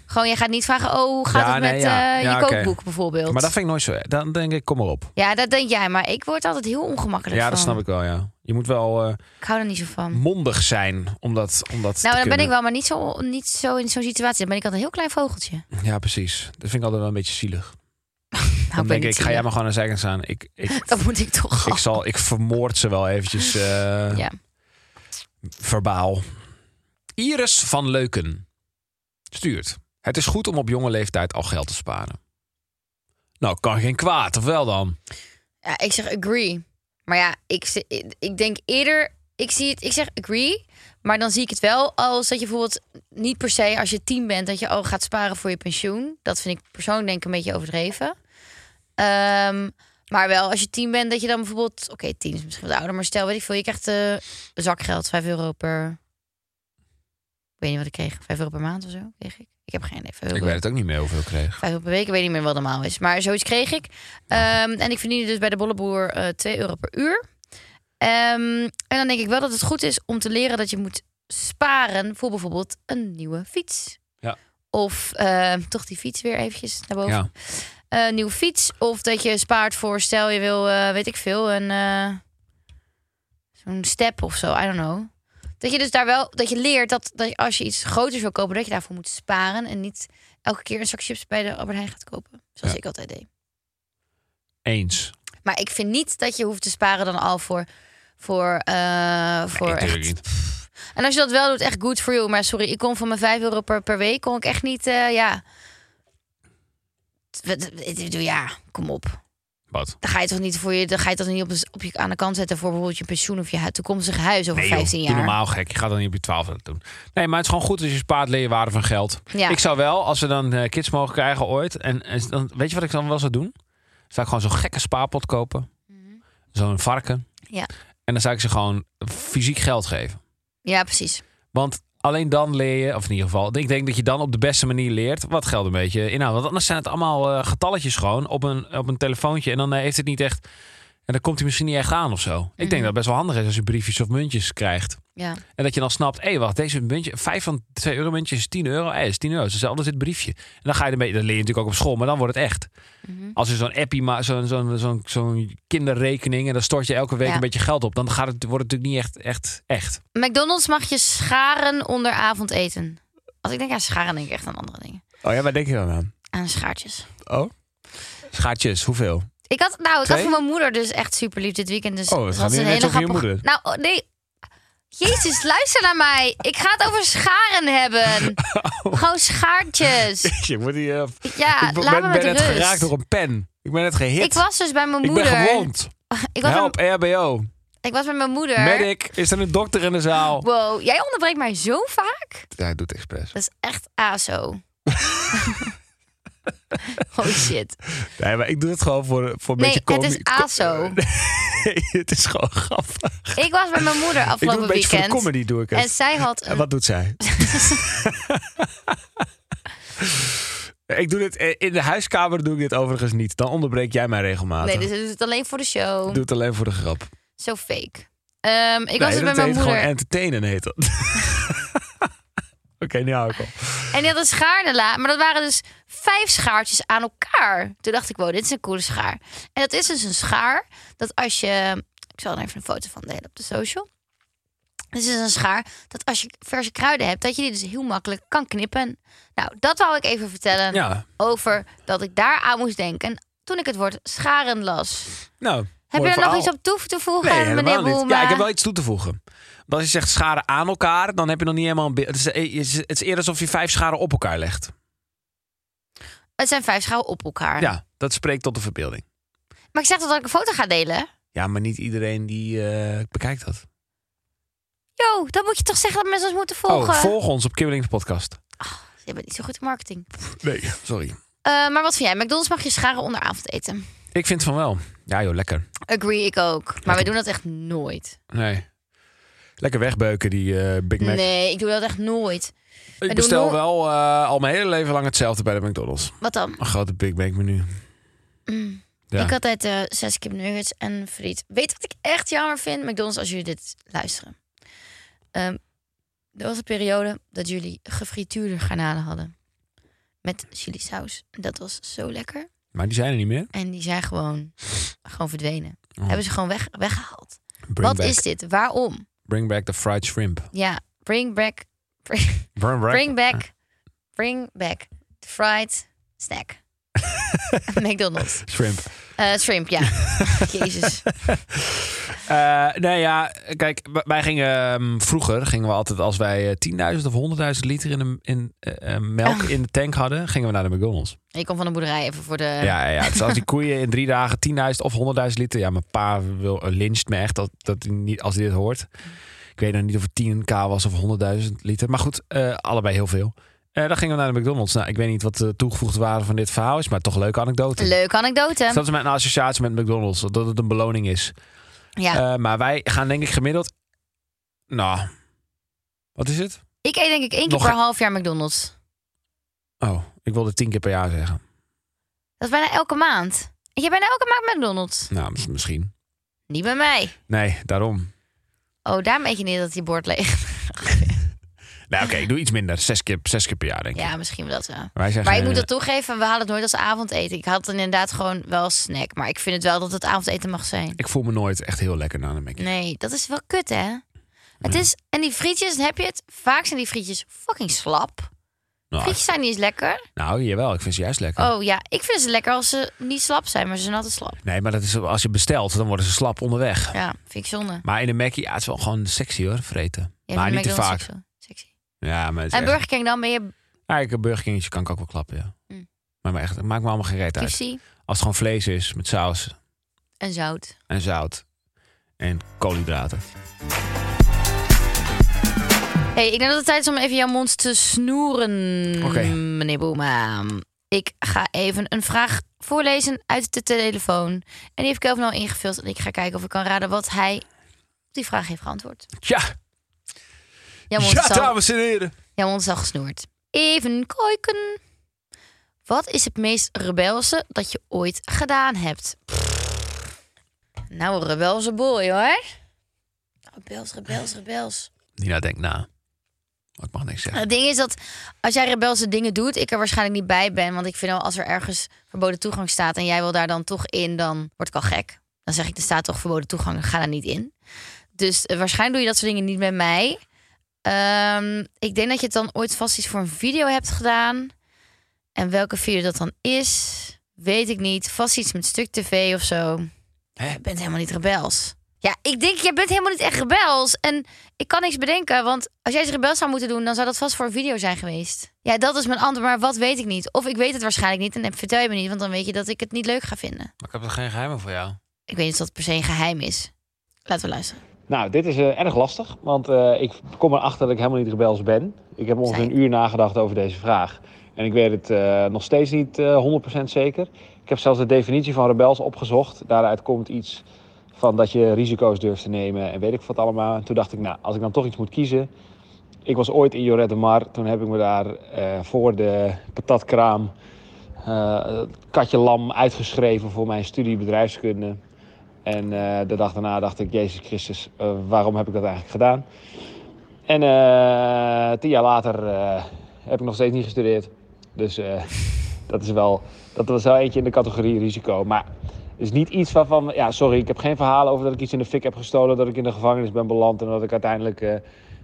S3: Gewoon, jij gaat niet vragen, oh, hoe gaat
S2: Ja,
S3: het
S2: nee,
S3: met
S2: ja.
S3: eh,
S2: Ja,
S3: je
S2: oké.
S3: kookboek bijvoorbeeld?
S2: Maar dat vind ik nooit zo. Dan denk ik, kom maar op.
S3: Ja, dat denk jij, maar ik word altijd heel ongemakkelijk
S2: Ja,
S3: van.
S2: dat snap ik wel. Ja. Je moet wel eh,
S3: Ik hou er niet zo van.
S2: mondig zijn om dat, om dat
S3: nou,
S2: te
S3: dan ben
S2: kunnen.
S3: ik wel, maar niet zo, niet zo in zo'n situatie. Dan ben ik altijd een heel klein vogeltje.
S2: Ja, precies. Dat vind ik altijd wel een beetje zielig.
S3: Nou,
S2: Dan
S3: ben
S2: denk ik,
S3: niet
S2: ga jij
S3: zielig.
S2: maar gewoon aan de zijkant staan. Ik, ik,
S3: [laughs] Dat moet ik toch.
S2: ik, zal, ik vermoord ze wel eventjes eh,
S3: Ja.
S2: verbaal. Iris van Leuken stuurt. Het is goed om op jonge leeftijd al geld te sparen. Nou, kan geen kwaad, of wel dan?
S3: Ja, ik zeg agree. Maar ja, ik, ze- ik- ik denk eerder, ik zie het, ik zeg agree. Maar dan zie ik het wel als dat je bijvoorbeeld niet per se als je tien bent, dat je al gaat sparen voor je pensioen. Dat vind ik persoonlijk denk ik een beetje overdreven. Ehm, maar wel als je tien bent, dat je dan bijvoorbeeld, oké, tien is misschien wat ouder, maar stel, weet ik veel, je krijgt eh zakgeld, 5 euro per. Ik weet niet wat ik kreeg, 5 euro per maand of zo kreeg ik. Ik heb geen idee. 5 euro
S2: Ik
S3: per-
S2: weet het ook niet meer hoeveel ik kreeg.
S3: vijf euro per week. Ik weet niet meer wat normaal is. Maar zoiets kreeg ik. Ehm, en ik verdiende dus bij de bolleboer eh 2 euro per uur. Ehm, en dan denk ik wel dat het goed is om te leren dat je moet sparen voor bijvoorbeeld een nieuwe fiets.
S2: Ja.
S3: Of ehm, toch die fiets weer eventjes naar boven.
S2: Ja.
S3: Eh, nieuwe fiets. Of dat je spaart voor, stel je wil, eh, weet ik veel, een eh, zo'n step of zo. I don't know. Dat je dus daar wel, dat je leert dat, dat je als je iets groters wil kopen, dat je daarvoor moet sparen. En niet elke keer een zak chips bij de Albert Heijn gaat kopen. Zoals
S2: Ja.
S3: ik altijd deed.
S2: Eens.
S3: Maar ik vind niet dat je hoeft te sparen dan al voor. voor, eh, voor
S2: Nee, natuurlijk
S3: echt-
S2: niet.
S3: Pff. En als je dat wel doet, echt good for you. Maar sorry, ik kon van mijn 5 euro per, per week kon ik echt niet. eh, ja. Wat- wat- Ja, kom op.
S2: Wat?
S3: Dan ga je toch niet voor je, dan ga je toch niet op, op je aan de kant zetten voor bijvoorbeeld je pensioen of je hu- toekomstig huis over
S2: Nee, joh,
S3: 15
S2: doe
S3: jaar.
S2: normaal gek. Je gaat dan niet op je twaalfde dat doen. Nee, maar het is gewoon goed als je spaart leerwaarde van geld.
S3: Ja.
S2: Ik zou wel, als we dan eh, kids mogen krijgen ooit. En, en dan, weet je wat ik dan wel zou doen? Zou ik gewoon zo'n gekke spaarpot kopen. Zo'n varken.
S3: Mhm. Ja.
S2: En dan zou ik ze gewoon fysiek geld geven.
S3: Ja, precies.
S2: Want alleen dan leer je, of in ieder geval, ik denk dat je dan op de beste manier leert wat geld een beetje inhoudt. Want anders zijn het allemaal eh, getalletjes gewoon op een, op een telefoontje. En dan eh, heeft het niet echt. En dan komt hij misschien niet echt aan of zo. Ik denk
S3: Mhm.
S2: dat het best wel handig is als je briefjes of muntjes krijgt.
S3: Ja.
S2: En dat je dan snapt, hé, wacht, deze muntje, vijf van 2 euro muntjes is 10 euro. Hé, is 10 euro. Het is hetzelfde als dit briefje. En dan ga je een beetje, dat leer je natuurlijk ook op school, maar dan wordt het echt.
S3: Mhm.
S2: Als je zo'n appie maakt, zo'n zo'n zo'n zo'n kinderrekening, en dan stort je elke week
S3: Ja.
S2: een beetje geld op, dan gaat het, wordt het natuurlijk niet echt, echt, echt.
S3: McDonald's mag je scharen onder avondeten. Als ik denk aan scharen, denk ik echt aan andere dingen.
S2: Oh ja, waar denk je dan aan?
S3: Aan schaartjes.
S2: Oh? Schaartjes, hoeveel?
S3: Ik had, nou, ik
S2: Twee?
S3: had van mijn moeder dus echt super lief dit weekend. Dus
S2: Oh, het
S3: dat
S2: gaat
S3: was
S2: weer
S3: een
S2: net
S3: hele
S2: over je
S3: grappige- Nou, oh, nee. Jezus, luister naar mij. Ik ga het over scharen
S2: [laughs]
S3: hebben. Gewoon schaartjes.
S2: [laughs] Je moet hier, eh,
S3: Ja,
S2: Oh. ik ben,
S3: laat me met
S2: ben net
S3: rust.
S2: geraakt door een pen. Ik ben net gehit.
S3: Ik was dus bij mijn
S2: Ik
S3: moeder.
S2: ben gewond.
S3: Ik was, bij,
S2: Help, RBO.
S3: ik was bij mijn moeder.
S2: Medic. Is er een dokter in de zaal?
S3: Wow, jij onderbreekt mij zo vaak.
S2: Hij doet expres.
S3: Dat is echt
S2: [laughs]
S3: aso. oh shit.
S2: Nee, maar ik doe het gewoon voor, voor een
S3: Nee,
S2: beetje
S3: het
S2: comedy.
S3: is aso.
S2: [laughs] Nee, het is gewoon grappig.
S3: Ik was bij mijn moeder
S2: Ik doe
S3: afgelopen
S2: een beetje voor de
S3: weekend.
S2: comedy, doe ik het.
S3: en zij
S2: [laughs]
S3: had
S2: En
S3: een
S2: wat doet
S3: [laughs]
S2: zij? ik doe dit, eh, in de huiskamer doe ik dit overigens niet. Dan onderbreek jij mij regelmatig.
S3: Nee, dus ze doet het alleen voor de show.
S2: Ik doe het alleen voor de grap. Ik
S3: Zo fake. Ehm, ik was dus bij mijn
S2: heet
S3: moeder.
S2: gewoon entertainen, heet dat. [laughs] Oké, nu hou ik op.
S3: En die had een schaarnela. Maar dat waren dus vijf schaartjes aan elkaar. Toen dacht ik, wow, dit is een coole schaar. En dat is dus een schaar dat als je Ik zal er even een foto van delen op de social. Dit is een schaar dat als je verse kruiden hebt, dat je die dus heel makkelijk kan knippen. Nou, dat wou ik even vertellen
S2: Ja.
S3: over dat ik daar aan moest denken toen ik het woord scharen las.
S2: Nou,
S3: Heb
S2: mooi
S3: je er nog
S2: verhaal.
S3: iets op toe te voegen,
S2: Nee,
S3: meneer
S2: helemaal niet.
S3: Boelma?
S2: Ja, ik heb wel iets toe te voegen. Want als je zegt scharen aan elkaar, dan heb je nog niet helemaal een beeld. Het is, eh, het is eerder alsof je vijf scharen op elkaar legt.
S3: Het zijn vijf schouwen op elkaar.
S2: Ja, dat spreekt tot de verbeelding.
S3: Maar ik zeg toch dat ik een foto ga delen?
S2: Ja, maar niet iedereen die eh, bekijkt dat.
S3: Yo, dan moet je toch zeggen dat mensen ons moeten volgen?
S2: Oh, volg ons op Kibbelings Podcast.
S3: Je bent niet zo goed in marketing.
S2: Nee, sorry.
S3: Eh, maar wat vind jij? McDonald's mag je scharen onder avondeten.
S2: Ik vind van wel. Ja joh, lekker.
S3: Agree, ik ook. Maar wij doen dat echt nooit.
S2: Nee. Lekker wegbeuken die eh, Big Mac.
S3: Nee, ik doe dat echt nooit.
S2: ik
S3: doen
S2: bestel
S3: no-
S2: wel eh, al mijn hele leven lang hetzelfde bij de McDonald's.
S3: Wat dan?
S2: Een grote Big Mac menu. Ja.
S3: Ik had altijd eh, zes kip nuggets en friet. Weet je wat ik echt jammer vind, McDonald's, als jullie dit luisteren? Ehm, er was een periode dat jullie gefrituurde garnalen hadden. Met chili saus. Dat was zo lekker.
S2: Maar die zijn er niet meer.
S3: En die zijn gewoon, gewoon verdwenen.
S2: Oh.
S3: Hebben ze gewoon weg, weggehaald.
S2: Bring
S3: wat
S2: back.
S3: is dit? Waarom?
S2: Bring back the fried shrimp.
S3: Ja, bring back... Bring,
S2: Bring back.
S3: bring back... Bring back the fried snack.
S2: [laughs]
S3: [laughs] McDonald's.
S2: Shrimp.
S3: Eh, shrimp,
S2: [laughs]
S3: ja. Jezus.
S2: Eh, nee, ja, kijk, w- wij gingen ehm, vroeger gingen we altijd als wij eh, 10.000 of 100.000 liter in, de, in eh, eh, melk in de tank hadden, gingen we naar de McDonald's.
S3: Ik kom van de boerderij even voor de...
S2: Ja, ja, ja. Dus als die koeien in drie dagen 10.000 of 100.000 liter, ja, mijn pa wil, lyncht me echt dat, dat hij niet, als hij dit hoort. Ik weet nog niet of het 10k was of 100.000 liter, maar goed, eh, allebei heel veel. Eh, dan gingen we naar de McDonald's. Nou, ik weet niet wat de toegevoegde waarde van dit verhaal is, maar toch een leuke anekdote.
S3: Leuke anekdote.
S2: Dus Dat is mijn associatie met McDonald's, dat het een beloning is.
S3: ja.
S2: Eh, maar wij gaan denk ik gemiddeld... Nou, wat is het?
S3: ik eet denk ik één keer
S2: nog e-
S3: per
S2: een-
S3: half jaar McDonald's.
S2: Oh, ik wilde tien keer per jaar zeggen.
S3: Dat is bijna elke maand. Ik heb bijna elke maand McDonald's.
S2: Nou, mis- misschien.
S3: Niet bij mij.
S2: Nee, daarom.
S3: Oh, daar weet je niet dat die bord leeg.
S2: Nou, oké, ik doe iets minder. Zes keer, zes keer per jaar, denk ik.
S3: [laughs] Ja, misschien wel dat wel.
S2: Wij zeggen,
S3: Maar ik moet dat toegeven, we halen het nooit als avondeten. Ik had het inderdaad gewoon wel als snack. Maar ik vind het wel dat het avondeten mag zijn.
S2: Ik voel me nooit echt heel lekker na de Mac.
S3: Nee, dat is wel kut, hè? Het is, en die frietjes, dan heb je het? Vaak zijn die frietjes fucking slap.
S2: Nou,
S3: Frietjes zijn niet eens lekker.
S2: nou, jawel, ik vind ze juist lekker.
S3: Oh ja, ik vind ze lekker als ze niet slap zijn, maar ze zijn altijd slap.
S2: Nee, maar dat is, als je bestelt, dan worden ze slap onderweg.
S3: Ja, vind ik zonde.
S2: Maar in de Mac, ja, het is wel gewoon sexy hoor, vreten.
S3: Ja,
S2: maar
S3: vind
S2: niet te
S3: McDonald's
S2: vaak.
S3: ook zo Sexy.
S2: Ja, maar het is
S3: En
S2: echt-
S3: Burger King, dan ben je
S2: eigenlijk een Burger Kingetje kan Nou, ik ook wel klappen, ja.
S3: Mm.
S2: Maar, maar echt, het maakt me allemaal geen reet uit.
S3: KFC
S2: Als het gewoon vlees is, met saus,
S3: en zout.
S2: en zout en koolhydraten.
S3: hey, ik denk dat het tijd is om even jouw mond te snoeren,
S2: Oké.
S3: meneer Boema. Ik ga even een vraag voorlezen uit de telefoon. En die heeft Kelvin al ingevuld. En ik ga kijken of ik kan raden wat hij op die vraag heeft geantwoord.
S2: Ja,
S3: Jouw mond, is, al,
S2: en heren.
S3: jouw mond is al gesnoerd. Even kijken. Wat is het meest rebelse dat je ooit gedaan hebt? Pff. Nou, een rebelse boy hoor. Rebels, rebels, rebels.
S2: Nina denkt na. Maar ik mag niks zeggen.
S3: [laughs] Het ding is dat als jij rebelse dingen doet, ik er waarschijnlijk niet bij ben. Want ik vind al als er ergens verboden toegang staat en jij wil daar dan toch in, dan word ik al gek. Dan zeg ik, er staat toch verboden toegang, ga daar niet in. Dus eh, waarschijnlijk doe je dat soort dingen niet met mij. Ehm, ik denk dat je het dan ooit vast iets voor een video hebt gedaan. En welke video dat dan is, weet ik niet. Vast iets met stuk tv of zo. Je bent helemaal niet rebels. Ja, ik denk, jij bent helemaal niet echt rebels. En ik kan niks bedenken, want als jij iets rebels zou moeten doen... dan zou dat vast voor een video zijn geweest. Ja, dat is mijn antwoord, maar wat weet ik niet. Of ik weet het waarschijnlijk niet en dan vertel je me niet... want dan weet je dat ik het niet leuk ga vinden.
S2: Maar ik heb er geen geheimen voor jou.
S3: Ik weet niet of dat per se een geheim is. Laten we luisteren.
S2: Nou, dit is eh, erg lastig, want eh, ik kom erachter dat ik helemaal niet rebels ben. Ik heb ongeveer
S3: Zij-
S2: een uur nagedacht over deze vraag. En ik weet het eh, nog steeds niet eh 100% zeker. Ik heb zelfs de definitie van rebels opgezocht. Daaruit komt iets van dat je risico's durft te nemen en weet ik wat allemaal. En toen dacht ik, nou, als ik dan toch iets moet kiezen. Ik was ooit in Joret de Mar. Toen heb ik me daar eh, voor de patatkraam eh, het katje lam uitgeschreven voor mijn studie bedrijfskunde. En eh, de dag daarna dacht ik, Jezus Christus, eh, waarom heb ik dat eigenlijk gedaan? En eh, tien jaar later eh, heb ik nog steeds niet
S6: [laughs]
S2: gestudeerd. Dus eh, dat is wel, dat was wel eentje in de categorie risico. Maar
S6: is niet iets waarvan, ja, sorry, ik heb geen verhalen over dat ik iets in de fik heb gestolen, dat ik in de gevangenis ben beland en dat ik uiteindelijk eh,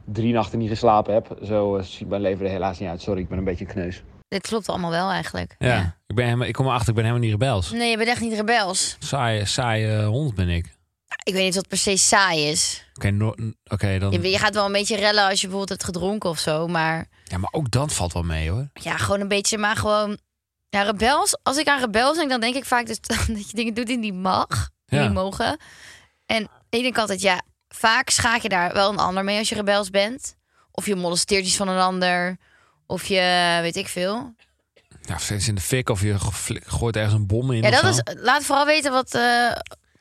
S6: drie nachten niet geslapen heb. Zo eh, ziet mijn leven er helaas niet uit. Sorry, ik ben een beetje een kneus.
S3: Dit klopt allemaal wel eigenlijk.
S2: Ja, Ik, ben helemaal, ik kom erachter, ik ben helemaal niet rebels.
S3: Nee, je bent echt niet rebels.
S2: Saaie, saaie hond ben ik.
S3: Ik weet niet wat per se saai is.
S2: Oké, no- n- oké, dan.
S3: Je, je gaat wel een beetje rellen als je bijvoorbeeld hebt gedronken of zo. Maar
S2: Ja, maar ook dat valt wel mee hoor.
S3: ja, gewoon een beetje, maar gewoon... Ja, rebels. Als ik aan rebels denk, dan denk ik vaak dus [laughs] dat je dingen doet die niet mag. Die
S2: Ja.
S3: niet mogen. En ik denk altijd, ja, vaak schaak je daar wel een ander mee als je rebels bent. Of je molesteert iets van een ander. Of je, weet ik veel.
S2: Ja, of steeds in de fik of je geflik- gooit ergens een bom in.
S3: Ja,
S2: of
S3: dat
S2: zo.
S3: is, eh, laat vooral weten wat, eh,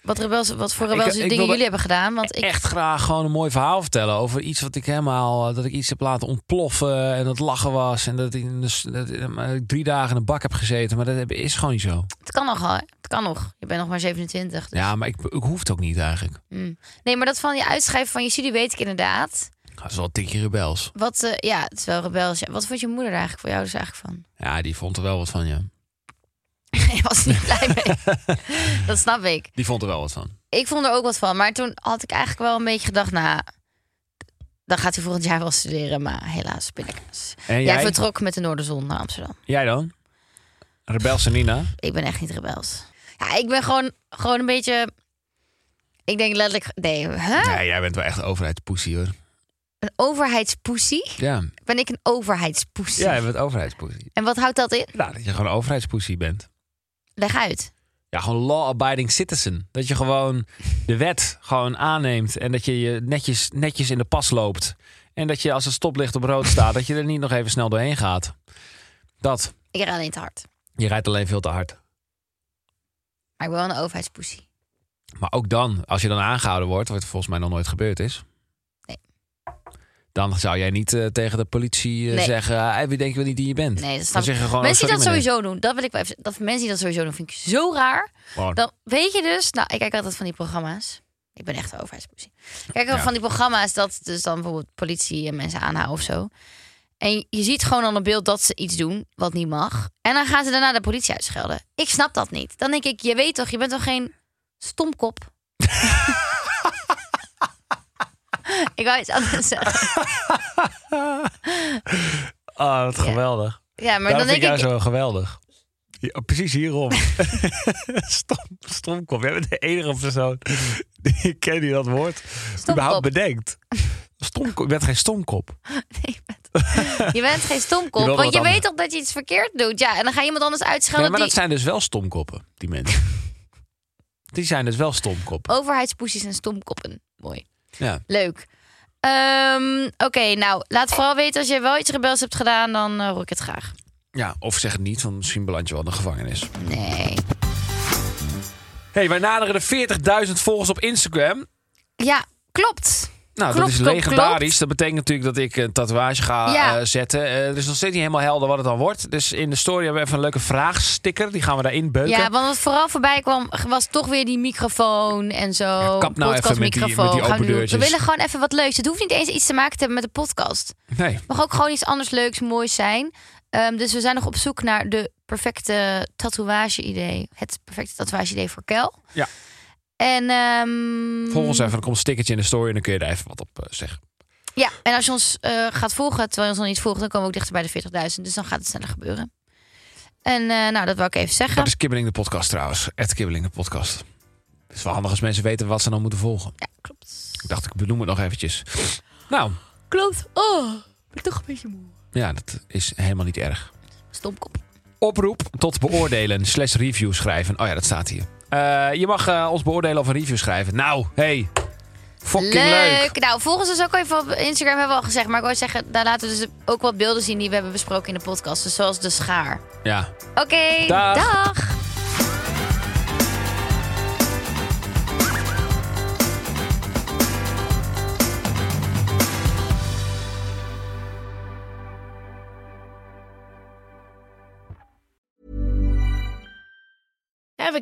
S3: wat, rebels, wat voor
S2: Ja, ik-
S3: rebels
S2: ik
S3: dingen
S2: wilde-
S3: jullie hebben gedaan. Want ik,
S2: echt graag gewoon een mooi verhaal vertellen over iets wat ik helemaal eh, dat ik iets heb laten ontploffen en dat lachen was en dat ik, in de s- dat, eh, maar ik drie dagen in een bak heb gezeten, maar dat heb- is gewoon niet zo.
S3: het kan nog, hè. het kan nog. Je bent nog maar 27. dus- mm.
S2: Ja, maar ik, ik hoef het ook niet eigenlijk.
S3: Nee, maar dat van je uitschrijven van je studie weet ik inderdaad.
S2: Dat is wel een tikje rebels.
S3: Wat, eh, ja, het is wel rebels. Ja, Wat vond je moeder er eigenlijk voor jou dus eigenlijk van?
S2: [laughs]
S3: [laughs]
S2: Ja, die vond er wel wat van je.
S3: Je was er niet blij mee. [laughs] dat snap ik.
S2: Die vond er wel wat van.
S3: Ik vond er ook wat van. Maar toen had ik eigenlijk wel een beetje gedacht, nou, dan gaat hij volgend jaar wel studeren. Maar helaas, pindakaas.
S2: En
S3: Jij
S2: jij?
S3: vertrok met de Noorderzon naar Amsterdam.
S2: Jij dan? Rebels en Nina?
S3: Ik ben echt niet rebels. Ja, ik ben gewoon, gewoon een beetje... Ik denk letterlijk... Nee, hè?
S2: Nee, jij bent wel echt overheidspoesie hoor.
S3: Een overheidspoesie?
S2: Ja,
S3: Ben ik een overheidspoesie?
S2: jij bent overheidspoesie.
S3: En wat houdt dat in?
S2: Nou, dat je gewoon overheidspoesie bent.
S3: Leg uit.
S2: Ja, gewoon law-abiding citizen. Dat je gewoon de wet gewoon aanneemt en dat je je netjes, netjes in de pas loopt. En dat je als het stoplicht op rood staat, dat je er niet nog even snel doorheen gaat. Dat.
S3: Ik rijd alleen te hard.
S2: Je rijdt alleen veel te hard.
S3: Maar ik ben wel een overheidspoesie.
S2: Maar ook dan, als je dan aangehouden wordt, wat volgens mij nog nooit gebeurd is.
S3: Nee.
S2: Dan zou jij niet eh, tegen de politie eh,
S3: Nee.
S2: zeggen, hey, wie denk je wel niet die je bent?
S3: Nee, dat
S2: dan
S3: snap
S2: zeg
S3: ik.
S2: je gewoon,
S3: mensen die
S2: "Oh,
S3: dat
S2: sorry,
S3: sowieso doen, dat wil ik wel even dat Mensen die dat sowieso doen, vind ik zo raar.
S2: meneer." Gewoon.
S3: Dan weet je dus, nou, ik kijk altijd van die programma's. Ik ben echt een overheidspoesie. Ik kijk ook
S2: Ja.
S3: van die programma's dat dus dan bijvoorbeeld politie en mensen aanhouden of zo. En je ziet gewoon aan het beeld dat ze iets doen wat niet mag. En dan gaan ze daarna de politie uitschelden. Ik snap dat niet. Dan denk ik, je weet toch, je bent toch geen
S2: [laughs]
S3: stomkop? [laughs] ik wou iets anders zeggen.
S2: Ah, wat geweldig.
S3: Ja, maar
S2: Daarom vind
S3: dan denk
S2: ik jou
S3: ik,
S2: zo geweldig. Ja, precies hierom. [laughs] Stom, stomkop. Jij bent de enige persoon die ik ken die dat woord überhaupt bedenkt. Stomkop. Je bent geen stomkop.
S3: Nou, Nee, je bent- je bent geen stomkop,
S2: Je wilde wat
S3: want je weet
S2: anders.
S3: toch dat je iets verkeerd doet. Ja, en dan ga je iemand anders uitschelden
S2: Nee, maar dat
S3: die
S2: zijn dus wel stomkoppen, die
S3: [laughs]
S2: mensen. Die zijn dus wel
S3: Oh.
S2: stomkoppen.
S3: overheidspoesies en stomkoppen. Mooi.
S2: Ja.
S3: Leuk. Ehm, Oké, nou, laat vooral weten als je wel iets rebels hebt gedaan, dan eh, hoor ik het graag.
S2: ja, of zeg het niet, want misschien beland je wel in de gevangenis.
S3: Nee.
S2: hey, wij naderen de 40.000 volgers op Instagram.
S3: Ja, klopt.
S2: Nou,
S3: Klopt,
S2: dat is
S3: klopt,
S2: legendarisch.
S3: klopt.
S2: Dat betekent natuurlijk dat ik een tatoeage ga
S3: Ja.
S2: eh, zetten. Eh, het is nog steeds niet helemaal helder wat het dan wordt. Dus in de story hebben we even een leuke vraagsticker. Die gaan we daarin beuken.
S3: Ja, want wat vooral voorbij kwam, was toch weer die microfoon en zo.
S2: Ja, kap nou even met die- met die
S3: Podcastmicrofoon. Gaan we
S2: open
S3: doen. We
S2: deurtjes.
S3: willen gewoon even wat leuks. Het hoeft niet eens iets te maken te hebben met de podcast.
S2: [laughs] Nee,
S3: mag ook gewoon iets anders leuks, moois zijn. Ehm, dus we zijn nog op zoek naar de perfecte tatoeage-idee. Het perfecte tatoeage-idee voor Kel.
S2: Ja.
S3: En, ehm,
S2: volg ons even. Dan komt een stickertje in de story en dan kun je daar even wat op eh, zeggen.
S3: Ja, en als je ons eh, gaat volgen, terwijl je ons nog niet volgt... dan komen we ook dichter bij de 40.000. Dus dan gaat het sneller gebeuren. En eh, nou, dat wil ik even zeggen.
S2: Dat is Kibbeling de podcast trouwens. Het Kibbeling de podcast. Het is wel handig als mensen weten wat ze nou moeten volgen.
S3: Ja, klopt.
S2: Ik dacht, ik benoem het nog eventjes. Nou,
S3: Klopt. Oh, ben ik toch een beetje moe.
S2: ja, dat is helemaal niet erg.
S3: Stomkop.
S2: Oproep tot beoordelen [laughs] slash review schrijven. Oh ja, dat staat hier. Eh, je mag eh, ons beoordelen of een review schrijven. Nou, hey. Fucking leuk.
S3: Nou, volgens ons ook even op Instagram hebben we al gezegd. Maar ik wil zeggen, daar laten we dus ook wat beelden zien... die we hebben besproken in de podcast. Dus zoals de schaar.
S2: Ja.
S3: Oké,
S2: Dag.
S3: dag.
S5: Ever